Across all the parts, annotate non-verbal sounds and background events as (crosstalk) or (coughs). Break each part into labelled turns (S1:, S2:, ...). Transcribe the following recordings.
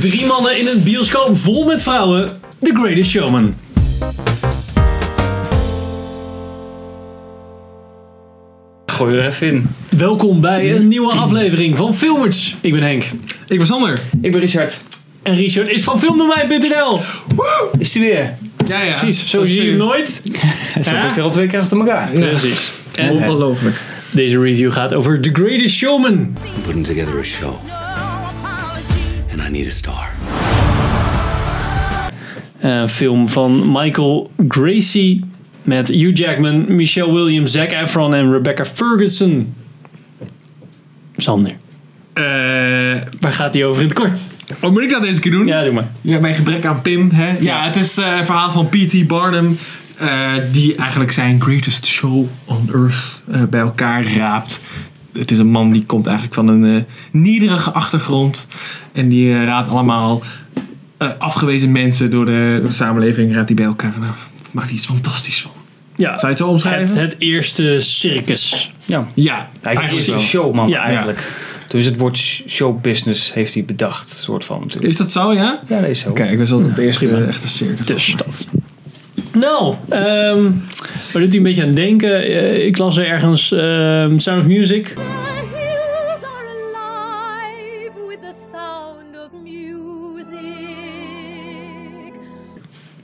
S1: Drie mannen in een bioscoop vol met vrouwen. The Greatest Showman.
S2: Gooi er even in.
S1: Welkom bij een nieuwe aflevering van Filmers. Ik ben Henk.
S3: Ik ben Sander.
S2: Ik ben Richard.
S1: En Richard is van filmdomein.nl.
S2: Is die weer?
S3: Ja, ja. eh,
S1: Precies, zo zie je hem nooit.
S3: (laughs)
S2: Dat heb
S1: Ja.
S2: ik er al twee keer achter elkaar.
S1: Precies.
S3: eh, Ongelooflijk.
S1: Deze review gaat over The Greatest Showman.
S4: I'm putting together a show,
S5: No apologies.
S4: and I need a star.
S1: Een Eh, film van Michael Gracie met Hugh Jackman, Michelle Williams, Zac Efron en Rebecca Ferguson. Sander, waar gaat hij over in het kort?
S3: eh, oh, moet ik dat deze keer doen?
S1: Ja, doe maar.
S3: Ja, bij gebrek aan Pim. Hè? Ja, het is eh, een verhaal van P.T. Barnum. eh, die eigenlijk zijn greatest show on earth eh, bij elkaar raapt. Het is een man die komt eigenlijk van een eh, nederige achtergrond. En die eh, raadt allemaal eh, afgewezen mensen door de, door de samenleving. Raadt die bij elkaar. En daar maakt hij iets fantastisch van.
S1: Ja,
S3: Zou je het zo omschrijven?
S1: het, het eerste circus.
S2: Ja.
S3: Ja,
S2: Hij is een
S3: wel.
S2: showman
S1: Ja.
S2: eigenlijk. Dus het woord sh- showbusiness heeft hij bedacht, soort van. natuurlijk.
S3: Is dat zo, ja?
S2: Ja, dat is zo.
S3: Kijk, ik was al het eerste eh, echte circus.
S1: Dus dat. Nou, ehm waar doet u een beetje aan denken? Eh, ik las er ergens ehm, Sound of Music.
S5: The hills are alive with the sound of music.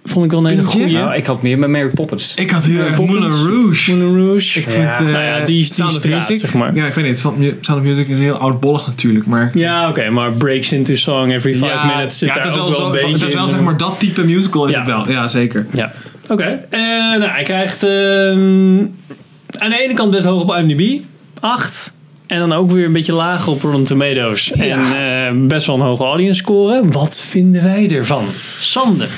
S1: Vond ik wel een hele
S3: Pintje?
S1: goeie.
S2: Nou, ik had meer met Mary Poppins.
S3: Ik had heel erg eh, Moulin Rouge.
S1: Moulin Rouge.
S3: Ik vind, eh,
S1: nou ja, die, die
S3: Sound of
S1: straat,
S3: Music-
S1: zeg maar.
S3: Ja, ik weet niet. Sound Mu- Sound of Music is heel oudbollig natuurlijk, maar...
S1: Ja, oké, maar breaks into song every five minutes zit
S3: ja,
S1: daar
S3: het is
S1: ook wel
S3: zo-
S1: een beetje
S3: Het is wel
S1: in.
S3: zeg maar dat type musical is
S1: Ja.
S3: het wel. Ja, zeker.
S1: Ja, oké. Eh, nou, hij krijgt ehm, aan de ene kant best hoog op IMDb, 8. En dan ook weer een beetje laag op Rotten Tomatoes. En eh, best wel een hoge audience score. Wat vinden wij ervan? Sander.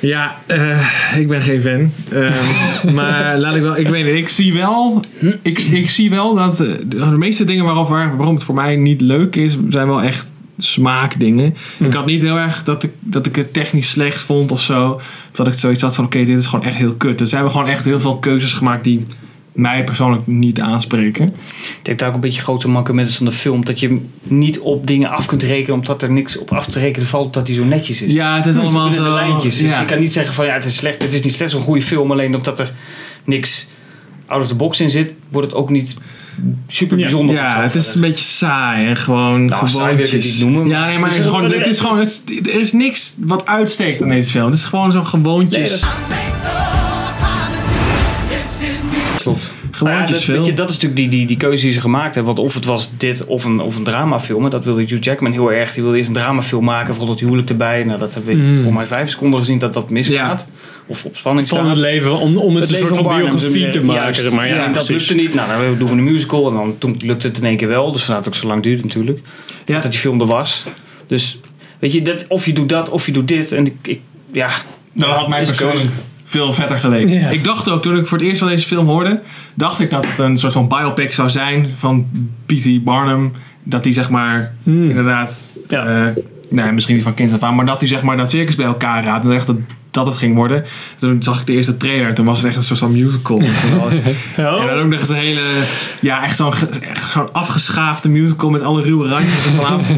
S3: Ja, eh, ik ben geen fan. Ehm, (laughs) maar laat ik wel, ik weet niet, ik zie wel, ik, ik zie wel dat eh, de meeste dingen waarover, waarom het voor mij niet leuk is, zijn wel echt smaakdingen. Ik had niet heel erg dat ik, dat ik het technisch slecht vond of zo. Of dat ik zoiets had van, oké, dit is gewoon echt heel kut. Er zijn we gewoon echt heel veel keuzes gemaakt die mij persoonlijk niet aanspreken.
S2: Ik denk dat ook een beetje grote mankement is van de film. Dat je niet op dingen af kunt rekenen omdat er niks op af te rekenen valt omdat hij zo netjes is.
S3: Ja, het is allemaal
S2: Binnen de
S3: zo.
S2: lijntjes. Dus
S3: ja.
S2: je kan niet zeggen van ja, het is slecht. Het is niet slechts een goede film. Alleen omdat er niks out of the box in zit, wordt het ook niet super
S1: Ja.
S2: bijzonder.
S3: Ja, het is een beetje saai en gewoon
S2: Nou, saai wil ik het
S3: gewoontjes.
S2: niet noemen, maar
S3: Ja, nee, maar
S2: het
S3: het
S2: is
S3: is
S2: wel-
S3: gewoon, het is gewoon het, er is niks wat uitsteekt aan deze film. Het is gewoon zo'n gewoontjes.
S2: Nee, klopt. Nou ja,
S3: gewoontjes
S2: dat, weet je,
S3: film.
S2: dat is natuurlijk die, die, die keuze die ze gemaakt hebben. Want of het was dit of een, of een dramafilm. En dat wilde Hugh Jackman heel erg. Die wilde eerst een dramafilm maken. Vooral dat huwelijk erbij. Nou, dat hebben we
S1: Mm.
S2: voor mij vijf seconden gezien dat dat misgaat. Of op spanning
S1: Van
S2: staat.
S1: het leven, om, om het,
S2: Het
S1: een
S2: leven
S1: soort van
S2: Barnum,
S1: biografie
S2: zo-
S1: te maken.
S2: juist.
S1: zeg maar. ja,
S2: en dat
S1: precies.
S2: lukte niet. Nou, dan doen we een musical. En dan, toen lukte het in één keer wel. Dus vandaar dat het ook zo lang duurde natuurlijk.
S3: Ja.
S2: Dat die film er was. Dus weet je, dat, of je doet dat of je doet dit. En ik, ik- ja,
S1: Nou,
S3: Dat had mij
S2: Is een
S3: persoonlijk
S2: keuze.
S3: veel vetter geleken.
S1: Ja.
S3: Ik dacht ook, toen ik voor het eerst van deze film hoorde, dacht ik dat het een soort van biopic zou zijn van P.T. Barnum. Dat die zeg maar, inderdaad,
S1: Hmm. Ja.
S3: eh, nee, misschien niet van kind af aan, maar dat die zeg maar dat circus bij elkaar raadt. En dacht dat dat het ging worden. Toen zag ik de eerste trailer, toen was het echt een soort van
S1: (laughs)
S3: musical.
S1: Oh,
S3: En dan ook nog eens een hele, ja, echt zo'n ge- echt zo'n afgeschaafde musical met alle ruwe randjes ervan
S1: (laughs)
S3: af.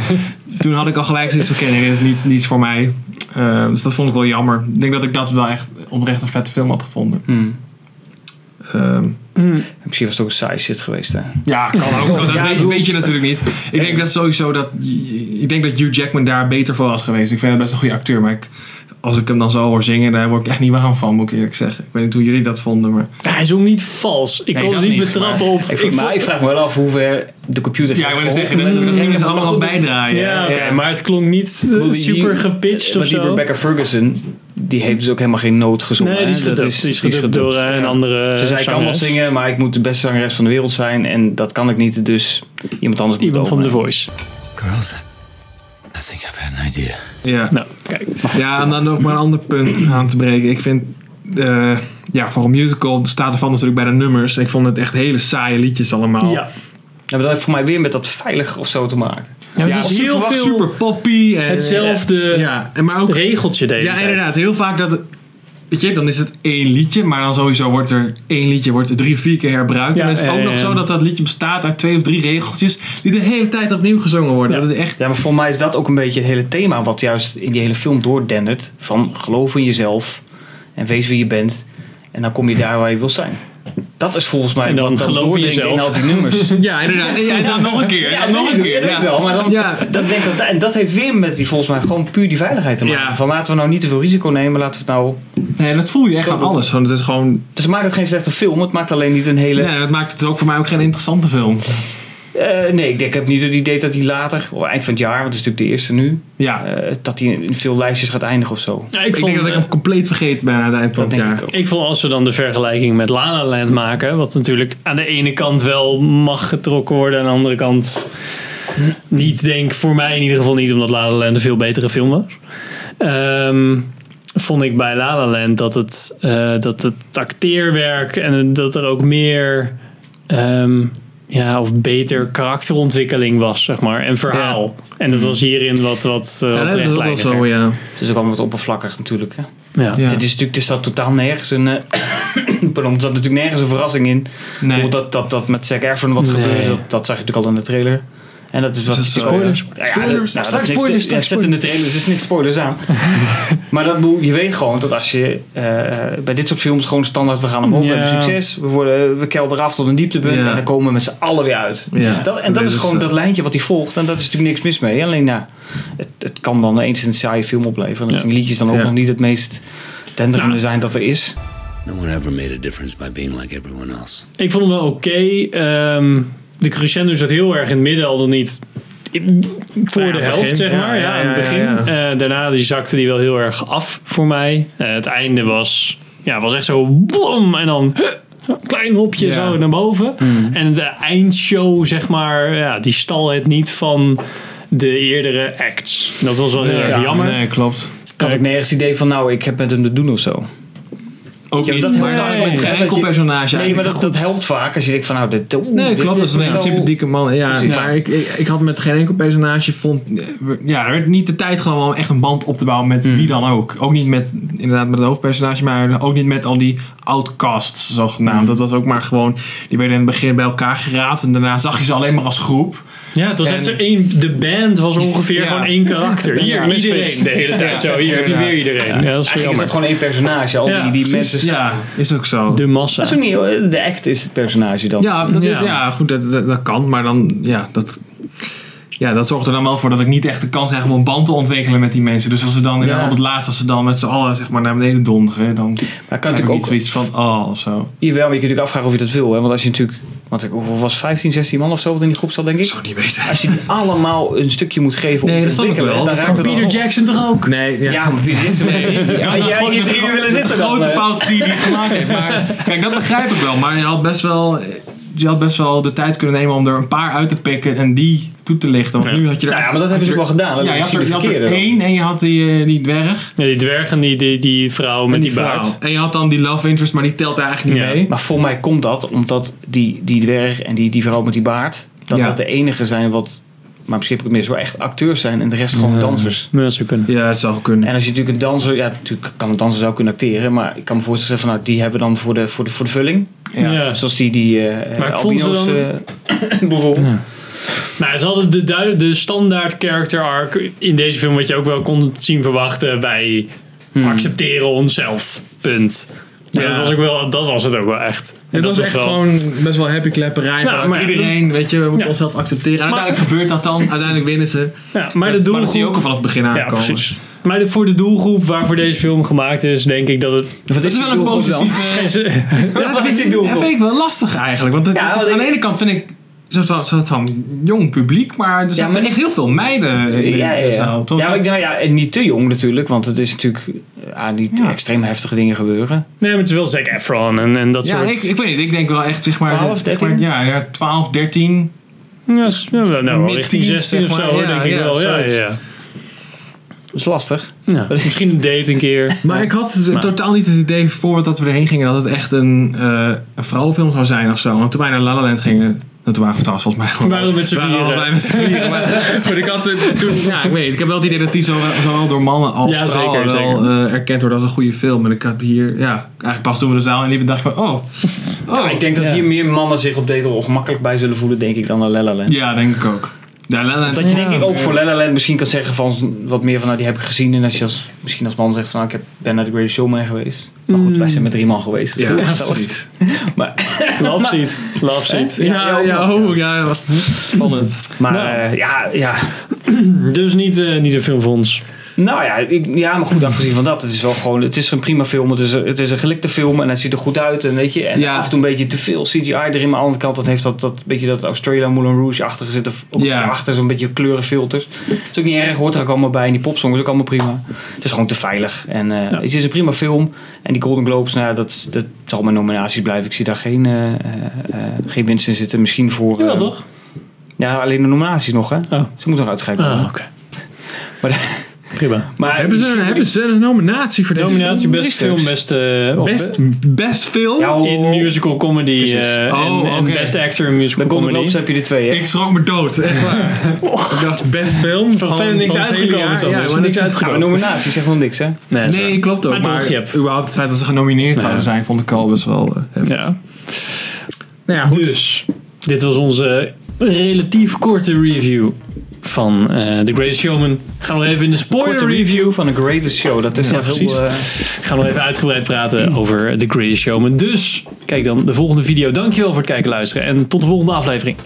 S3: Toen had ik al gelijk zoiets van, oké, nee, dit is niet, niets voor mij. Eh, dus dat vond ik wel jammer. Ik denk dat ik dat wel echt oprecht een vette film had gevonden. Ehm,
S2: misschien was het ook een saai shit geweest. Hè.
S3: ja, kan (laughs) ook. Dat
S2: Ja,
S3: weet,
S2: bedoel-
S3: weet je natuurlijk niet. Ik denk dat sowieso dat, ik denk dat Hugh Jackman daar beter voor was geweest. Ik vind hem best een goede acteur, maar ik, als ik hem dan zo hoor zingen, daar word ik echt niet warm van, moet ik eerlijk zeggen. Ik weet niet hoe jullie dat vonden, maar...
S1: hij is ook niet vals. Ik kon
S3: Nee,
S1: het
S3: dat
S1: niet
S3: niet,
S1: betrappen
S3: maar-
S1: op.
S2: Ik, maar ik
S1: vond-
S2: vraag me wel af hoe ver de computer
S3: Ja,
S2: gaat
S3: ik wil net zeggen,
S2: volgen.
S3: dat, dat kunnen ze allemaal
S2: goed.
S3: bijdraaien.
S1: ja, oké,
S2: ja.
S1: maar het klonk niet eh,
S2: Wil die-
S1: super gepitcht
S2: maar
S1: of
S2: die
S1: zo.
S2: Rebecca Ferguson, die heeft dus ook helemaal geen noot gezongen.
S1: Nee, die is
S2: hè. Dat
S1: gedubt. Die is gedubt
S2: gedubt.
S1: door eh, een
S2: Ja.
S1: andere
S2: Ze zei, ik kan wel
S1: zangeres.
S2: zingen, maar ik moet de beste zangeres van de wereld zijn. En dat kan ik niet, dus iemand anders moet
S1: Iemand van The
S2: overnemen.
S1: Voice.
S4: Girls, I think I've had an idea.
S3: Ja.
S1: Nou, kijk.
S3: Ja, en dan ook maar een ander punt aan te breken. Ik vind, eh, ja, voor een musical staat ervan natuurlijk bij de nummers. Ik vond het echt hele saaie liedjes allemaal.
S1: Ja.
S2: Ja, maar dat heeft voor mij weer met dat veilig of zo te maken.
S1: Ja, het
S3: het
S1: is heel
S3: was
S1: veel
S3: super poppy. En,
S1: hetzelfde
S3: Ja, en maar ook,
S1: regeltje deed.
S3: ja inderdaad, heel vaak dat Weet je, dan is het één liedje, maar dan sowieso wordt er één liedje wordt er drie of vier keer herbruikt.
S1: Ja,
S3: en dan is het ook
S1: ja, ja,
S3: nog
S1: ja.
S3: zo dat dat liedje bestaat uit twee of drie regeltjes die de hele tijd opnieuw gezongen worden.
S1: Ja.
S3: Dat is echt.
S2: Ja, maar voor mij is dat ook een beetje het hele thema wat juist in die hele film doordendert. Van geloof in jezelf en wees wie je bent. En dan kom je daar waar je wil zijn. Dat is volgens mij
S1: En dan
S2: wat dan
S1: geloof in
S2: doordringt in
S1: jezelf.
S2: al die nummers.
S3: Ja, inderdaad. Ja, en dan nog een keer. Ja, nog een
S2: Ja, dat weet
S3: keer.
S2: ik
S3: Ja.
S2: wel. Maar dan,
S3: Ja.
S2: dat denk ik dat, en dat heeft weer met die volgens mij gewoon puur die veiligheid te maken.
S3: Ja.
S2: Van laten we nou niet te veel risico nemen. Laten we het nou...
S3: Nee, dat voel je echt aan alles. Gewoon, dat is gewoon.
S2: Dus het maakt het geen slechte film. Het maakt alleen niet een hele...
S3: Nee, dat maakt het ook voor mij ook geen interessante film.
S2: Eh, nee, ik, denk, ik heb niet het idee dat hij later, of eind van het jaar, want het is natuurlijk de eerste nu,
S3: Ja.
S2: eh, dat hij in veel lijstjes gaat eindigen of zo.
S1: Ja, ik,
S3: ik
S1: vond,
S3: denk dat ik
S1: eh,
S3: hem compleet vergeten ben aan het eind van
S2: Dat
S3: het
S2: denk
S3: jaar.
S2: ik ook.
S1: Ik vond als we dan de vergelijking met La La Land maken, wat natuurlijk aan de ene kant wel mag getrokken worden, aan de andere kant niet, denk voor mij in ieder geval niet, omdat La La Land een veel betere film was. Ehm, vond ik bij La La Land dat het, eh, dat het acteerwerk en dat er ook meer ehm, ja, of beter karakterontwikkeling was, zeg maar, en verhaal. En dat was hierin wat, wat, eh, wat
S3: Ja, dat is ook wel
S1: rechtlijniger.
S3: zo, ja.
S2: Het is ook allemaal wat oppervlakkig natuurlijk. Hè?
S1: Ja.
S3: Ja.
S2: Dit is natuurlijk, er staat totaal nergens een, eh, (coughs) pardon, er zat natuurlijk nergens een verrassing in.
S3: Nee.
S2: Hoe Dat, dat, dat met Zac Efron wat
S1: Nee.
S2: gebeurde, dat, dat zag je natuurlijk al in de trailer. En dat is wat...
S3: dat zo?
S1: Spoilers.
S2: Ja, ja, dat- nou, dat is
S1: Straks
S2: niks te-
S1: spoilers,
S2: ja,
S1: straks
S2: zet in de trailer, dus er is niks spoilers aan. maar dat, bedoel- je weet gewoon dat als je eh, bij dit soort films gewoon standaard, we gaan omhoog,
S1: Ja.
S2: we hebben succes, we, worden, we kelderen af tot een dieptepunt
S3: Ja.
S2: en dan komen we met z'n allen weer uit.
S3: Ja.
S2: Dat, en dat
S3: Dat
S2: is
S3: is
S2: gewoon
S3: zo.
S2: dat lijntje wat hij volgt en dat is natuurlijk niks mis mee. Alleen nou, het, het kan dan eens een saaie film opleveren. Dat
S1: Ja.
S2: die liedjes dan ook
S3: Ja.
S2: nog niet het meest tenderende zijn dat er is.
S4: No one ever made a difference by being like everyone else.
S1: Ik vond hem wel oké. Ehm, de crescendo zat heel erg in het midden, al dan niet in- voor
S3: Nou
S1: de
S3: Ja, aan het
S1: helft,
S3: begin.
S1: zeg
S3: Ja,
S1: maar. Ja,
S3: ja,
S1: aan het
S3: ja,
S1: begin.
S3: ja,
S1: Eh, daarna die zakte die wel heel erg af voor mij. Eh, het einde was, ja, was echt zo boom en dan huh, zo'n klein hopje
S3: Ja. Hmm.
S1: zo naar boven. En de eindshow, zeg maar, ja, die stal het niet van de eerdere acts. Dat was wel heel
S2: eh,
S1: erg
S3: Ja,
S1: jammer.
S3: Nee, klopt.
S2: Ik had ook nergens idee van nou, ik heb met hem te doen of zo.
S3: Ook
S2: Ja,
S3: niet,
S2: dat
S3: maar
S2: helpt
S3: vaak
S2: wel.
S3: met geen
S2: Dat
S3: enkel
S2: je-
S3: personage.
S2: Nee, maar dat,
S3: eigenlijk
S2: dat
S3: goed.
S2: helpt vaak als je denkt van nou, dit... oeh,
S3: Nee,
S2: dit
S3: klopt. Dat is een hele
S2: nou-
S3: sympathieke man. Ja,
S2: Precies.
S3: maar ik, ik, ik had met geen enkel personage vond. eh, Ja, er werd niet de tijd genomen om echt een band op te bouwen met wie dan ook. Ook niet met, inderdaad, met het hoofdpersonage, maar ook niet met al die outcasts, zogenaamd. Dat was ook maar gewoon. Die werden in het begin bij elkaar geraapt en daarna zag je ze alleen maar als groep.
S1: Ja, het was echt zo
S3: En-
S1: één. De band was ongeveer
S3: Ja.
S1: gewoon één karakter.
S3: Ja,
S1: Hier, iedereen.
S3: Misfits.
S1: De hele tijd
S3: Ja.
S1: zo. Hier heb je weer iedereen. Ja, dat is
S2: Eigenlijk is
S1: jammer.
S2: dat gewoon één personage, al
S1: Ja,
S2: die, die
S1: precies.
S2: mensen... staan.
S3: Ja, is ook zo.
S1: De massa.
S2: Dat is Dus ook niet, hoor. de act is het personage dan.
S3: Ja, dat is-
S1: Ja.
S3: ja. goed, dat, dat, dat kan. Maar dan, ja, dat. Ja, dat zorgt er dan wel voor dat ik niet echt de kans krijg om een band te ontwikkelen met die mensen. Dus als ze dan
S2: Ja.
S3: op het laatst, als ze dan met z'n allen zeg maar, naar beneden donderen, dan
S2: Maar kan
S3: heb ik
S2: natuurlijk
S3: niet
S2: ook...
S3: zoiets van, oh, of zo.
S2: Jawel, maar je kunt natuurlijk afvragen of je dat wil. Hè? Want als je natuurlijk... Want ik hoeveel was 15, 16 man of zo wat in die groep zat, denk ik.
S3: Zou niet weten.
S2: Als
S3: (laughs)
S2: je die allemaal een stukje moet geven om
S3: Nee,
S2: te
S3: dat snap ik
S2: ontwikkelen,
S3: wel.
S2: dan
S3: Dat
S2: raakt
S3: kan
S2: het al op.
S1: Jackson toch ook?
S3: Nee, ja.
S2: Ja, maar wie zit er? Ja,
S3: dat is
S2: jij
S3: gewoon
S2: in
S3: de
S2: drie uur
S3: gro-
S2: willen
S3: de
S2: zitten dan. eh.
S3: grote
S2: hè?
S3: fout die hij gemaakt heeft. Maar kijk, dat begrijp ik wel. Maar je had best wel, je had best wel de tijd kunnen nemen om er een paar uit te pikken en die toe te lichten. Want nu had je er
S2: Nou ja,
S3: echt-
S2: maar dat hebben
S3: had
S2: ze
S3: je
S2: wel
S3: er-
S2: gedaan. Dat
S3: Ja, je had
S2: is
S3: er,
S2: de
S3: je had er
S2: verkeerde.
S3: één en je had die, eh, die dwerg.
S1: Ja, die dwerg en die, die, die vrouw met die, baard.
S3: En je had dan die love interest, maar die telt daar eigenlijk niet
S1: Ja.
S3: mee.
S2: Maar voor mij komt dat omdat die, die dwerg en die, die vrouw met die baard, dat
S3: Ja.
S2: dat de enige zijn wat, maar misschien heb ik het mis, wel echt acteurs zijn en de rest gewoon dansers.
S1: Ja, dat zou kunnen.
S3: Ja, dat zou kunnen.
S2: En als je natuurlijk een danser, ja, natuurlijk kan een danser zou kunnen acteren, maar ik kan me voorstellen van nou, die hebben dan voor de, voor de, voor de vulling. Ja.
S1: Ja.
S2: Zoals die, die eh
S1: Maar ik vond ze
S2: albino's
S1: dan-
S2: eh, bijvoorbeeld.
S1: Nou, ze hadden de, duid- de standaard character arc in deze film, wat je ook wel kon zien verwachten. Wij accepteren onszelf. Punt. Maar
S3: Hmm. Ja.
S1: Dat, was ook wel, dat was het ook wel echt. En
S3: Dit
S1: dat
S3: was echt
S1: wel-
S3: gewoon best wel happy klepperij.
S1: Ja,
S3: van
S1: maar-
S3: iedereen, weet je, we moeten
S1: Ja.
S3: onszelf accepteren. En
S1: Maar-
S3: uiteindelijk gebeurt dat dan. Uiteindelijk winnen ze.
S1: Ja, maar de
S3: Maar dat zie je ook al
S1: doelgroep...
S3: vanaf het begin
S1: Ja,
S3: aankomen.
S1: precies. Maar de- voor de doelgroep waarvoor deze film gemaakt is, denk ik dat het...
S2: Wat
S3: Dat is wel
S2: die
S3: een
S2: doelgroep dan?
S3: positieve...
S1: (laughs)
S2: Ja, Wat is die
S3: Ja,
S2: doelgroep?
S3: vind ik wel lastig eigenlijk. Want het,
S2: Ja,
S3: het is-
S2: want
S3: aan
S2: ik-
S3: de ene kant vind ik... Zo van, zo van jong publiek, maar er zaten
S2: maar-
S3: echt heel veel meiden in de
S2: Ja, ja, ja.
S3: zaal, toch?
S2: ja, maar ik, nou ja, en niet te jong natuurlijk, want het is natuurlijk ah, niet
S3: Ja.
S2: extreem heftige dingen gebeuren.
S1: Nee, maar het is wel Zac Efron en, en dat
S3: Ja,
S1: soort...
S3: ik, ik weet niet. Ik denk wel echt, zeg maar...
S2: 12,
S3: zeg maar,
S2: 13?
S3: ja, ja, 12, 13.
S1: Ja, s- ja, nou, wel
S3: Mid-teens,
S1: richting 16 of
S3: zeg
S1: zo,
S3: maar.
S1: hoor,
S3: Ja,
S1: denk ik
S3: ja,
S1: wel. Ja, ja,
S3: zoiets.
S1: ja.
S2: Dat is lastig.
S1: Ja, Misschien een date een keer.
S3: Maar ik had z-
S1: Maar-
S3: totaal niet het idee voordat we erheen gingen dat het echt een, eh, een vrouwenfilm zou zijn of zo. Want toen wij naar La La Land gingen, Dat waren we trouwens volgens mij gewoon.
S1: We waren met z'n
S3: waren
S1: vieren.
S3: allebei met z'n vieren. Maar goed, ik had er toen, ja, ik weet niet. Ik heb wel het idee dat die zo- zowel door mannen als
S1: Ja,
S3: vrouwen
S1: zeker,
S3: wel eh, erkend wordt als een goede film. En ik had hier, ja, eigenlijk pas toen we de zaal in liepen dacht ik van, oh. oh.
S2: Ja, ik denk dat
S1: Ja.
S2: hier meer mannen zich op deze ongemakkelijk bij zullen voelen, denk ik, dan aan La La Land.
S3: Ja, denk ik ook. Ja, La La Land-
S2: Dat je denk
S3: Ja.
S2: ik ook voor La La Land misschien kan zeggen van wat meer van nou die heb ik gezien. En als je als, misschien als man zegt van nou, ik heb, ben naar The Greatest Showman geweest. Maar goed, wij zijn met drie man geweest. Dus (laughs)
S3: Ja,
S2: hoe gezellig.
S3: precies.
S2: Maar,
S1: (laughs) Love seat. Love seat.
S3: Ja, ja, oh, ja, ja. Spannend.
S2: maar
S1: Nou.
S2: eh, ja, ja,
S1: Dus niet, eh, niet een film voor ons.
S2: Nou ja, ik, ja, maar goed, afgezien van dat. Het is wel gewoon, het is een prima film. Het is een, het is een gelikte film en het ziet er goed uit. En, weet je, en
S3: Ja.
S2: af en toe een beetje te veel CGI erin. Maar aan de andere kant, dat heeft dat, dat beetje dat Australia Moulin Rouge-achtige zitten.
S3: Ja.
S2: Ja. Achter zo'n beetje kleurenfilters. is ook niet erg, hoort er ook allemaal bij. En die popsong is ook allemaal prima. Het is gewoon te veilig. En eh, het is een prima film. En die Golden Globes, nou, ja, dat, dat zal mijn nominaties blijven. Ik zie daar geen, eh, eh, eh, geen winst in zitten. Misschien voor...
S1: Ja,
S2: eh,
S1: toch?
S2: Ja, alleen de nominaties nog, hè.
S1: Oh.
S2: Ze moeten nog uitgeven.
S1: Ah, oké.
S2: Maar,
S1: Prima.
S2: maar
S3: Hebben ze, hebben ze een nominatie voor deze
S1: Dominatie,
S3: film?
S1: best film, best... eh, of
S3: Best, best film?
S2: Ja, hoor.
S1: In musical comedy.
S2: Oh. Precies.
S1: eh,
S3: Oh,
S1: en, en
S3: oké.
S1: best actor in
S2: Bij
S1: musical
S2: Golden Globes
S1: comedy.
S2: heb je de twee, hè?
S3: Ik schrok me dood, echt waar. Ik dacht, best film.
S1: Van-
S3: verder
S1: van het hele jaar,
S3: zo.
S1: ja,
S3: Er is
S1: maar niks
S2: Ja, maar nominatie zegt nog niks, hè?
S1: Nee, is
S3: Nee, klopt ook.
S1: Maar
S3: Maar,
S1: toch, je hebt-
S3: überhaupt het feit dat ze genomineerd zouden zijn, vond ik al best wel... eh, heftig.
S1: waar. Ja.
S3: Nou ja, goed.
S1: Dus, dit was onze relatief korte review van eh, The Greatest Showman. Gaan we nog even in de spoiler
S2: Korte
S1: review.
S2: review van The Greatest Show. Dat is
S1: Ja,
S2: echt
S1: precies.
S2: heel... eh,
S1: Gaan we nog even uitgebreid praten over The Greatest Showman. Dus, kijk dan de volgende video. Dankjewel voor het kijken en luisteren. En tot de volgende aflevering.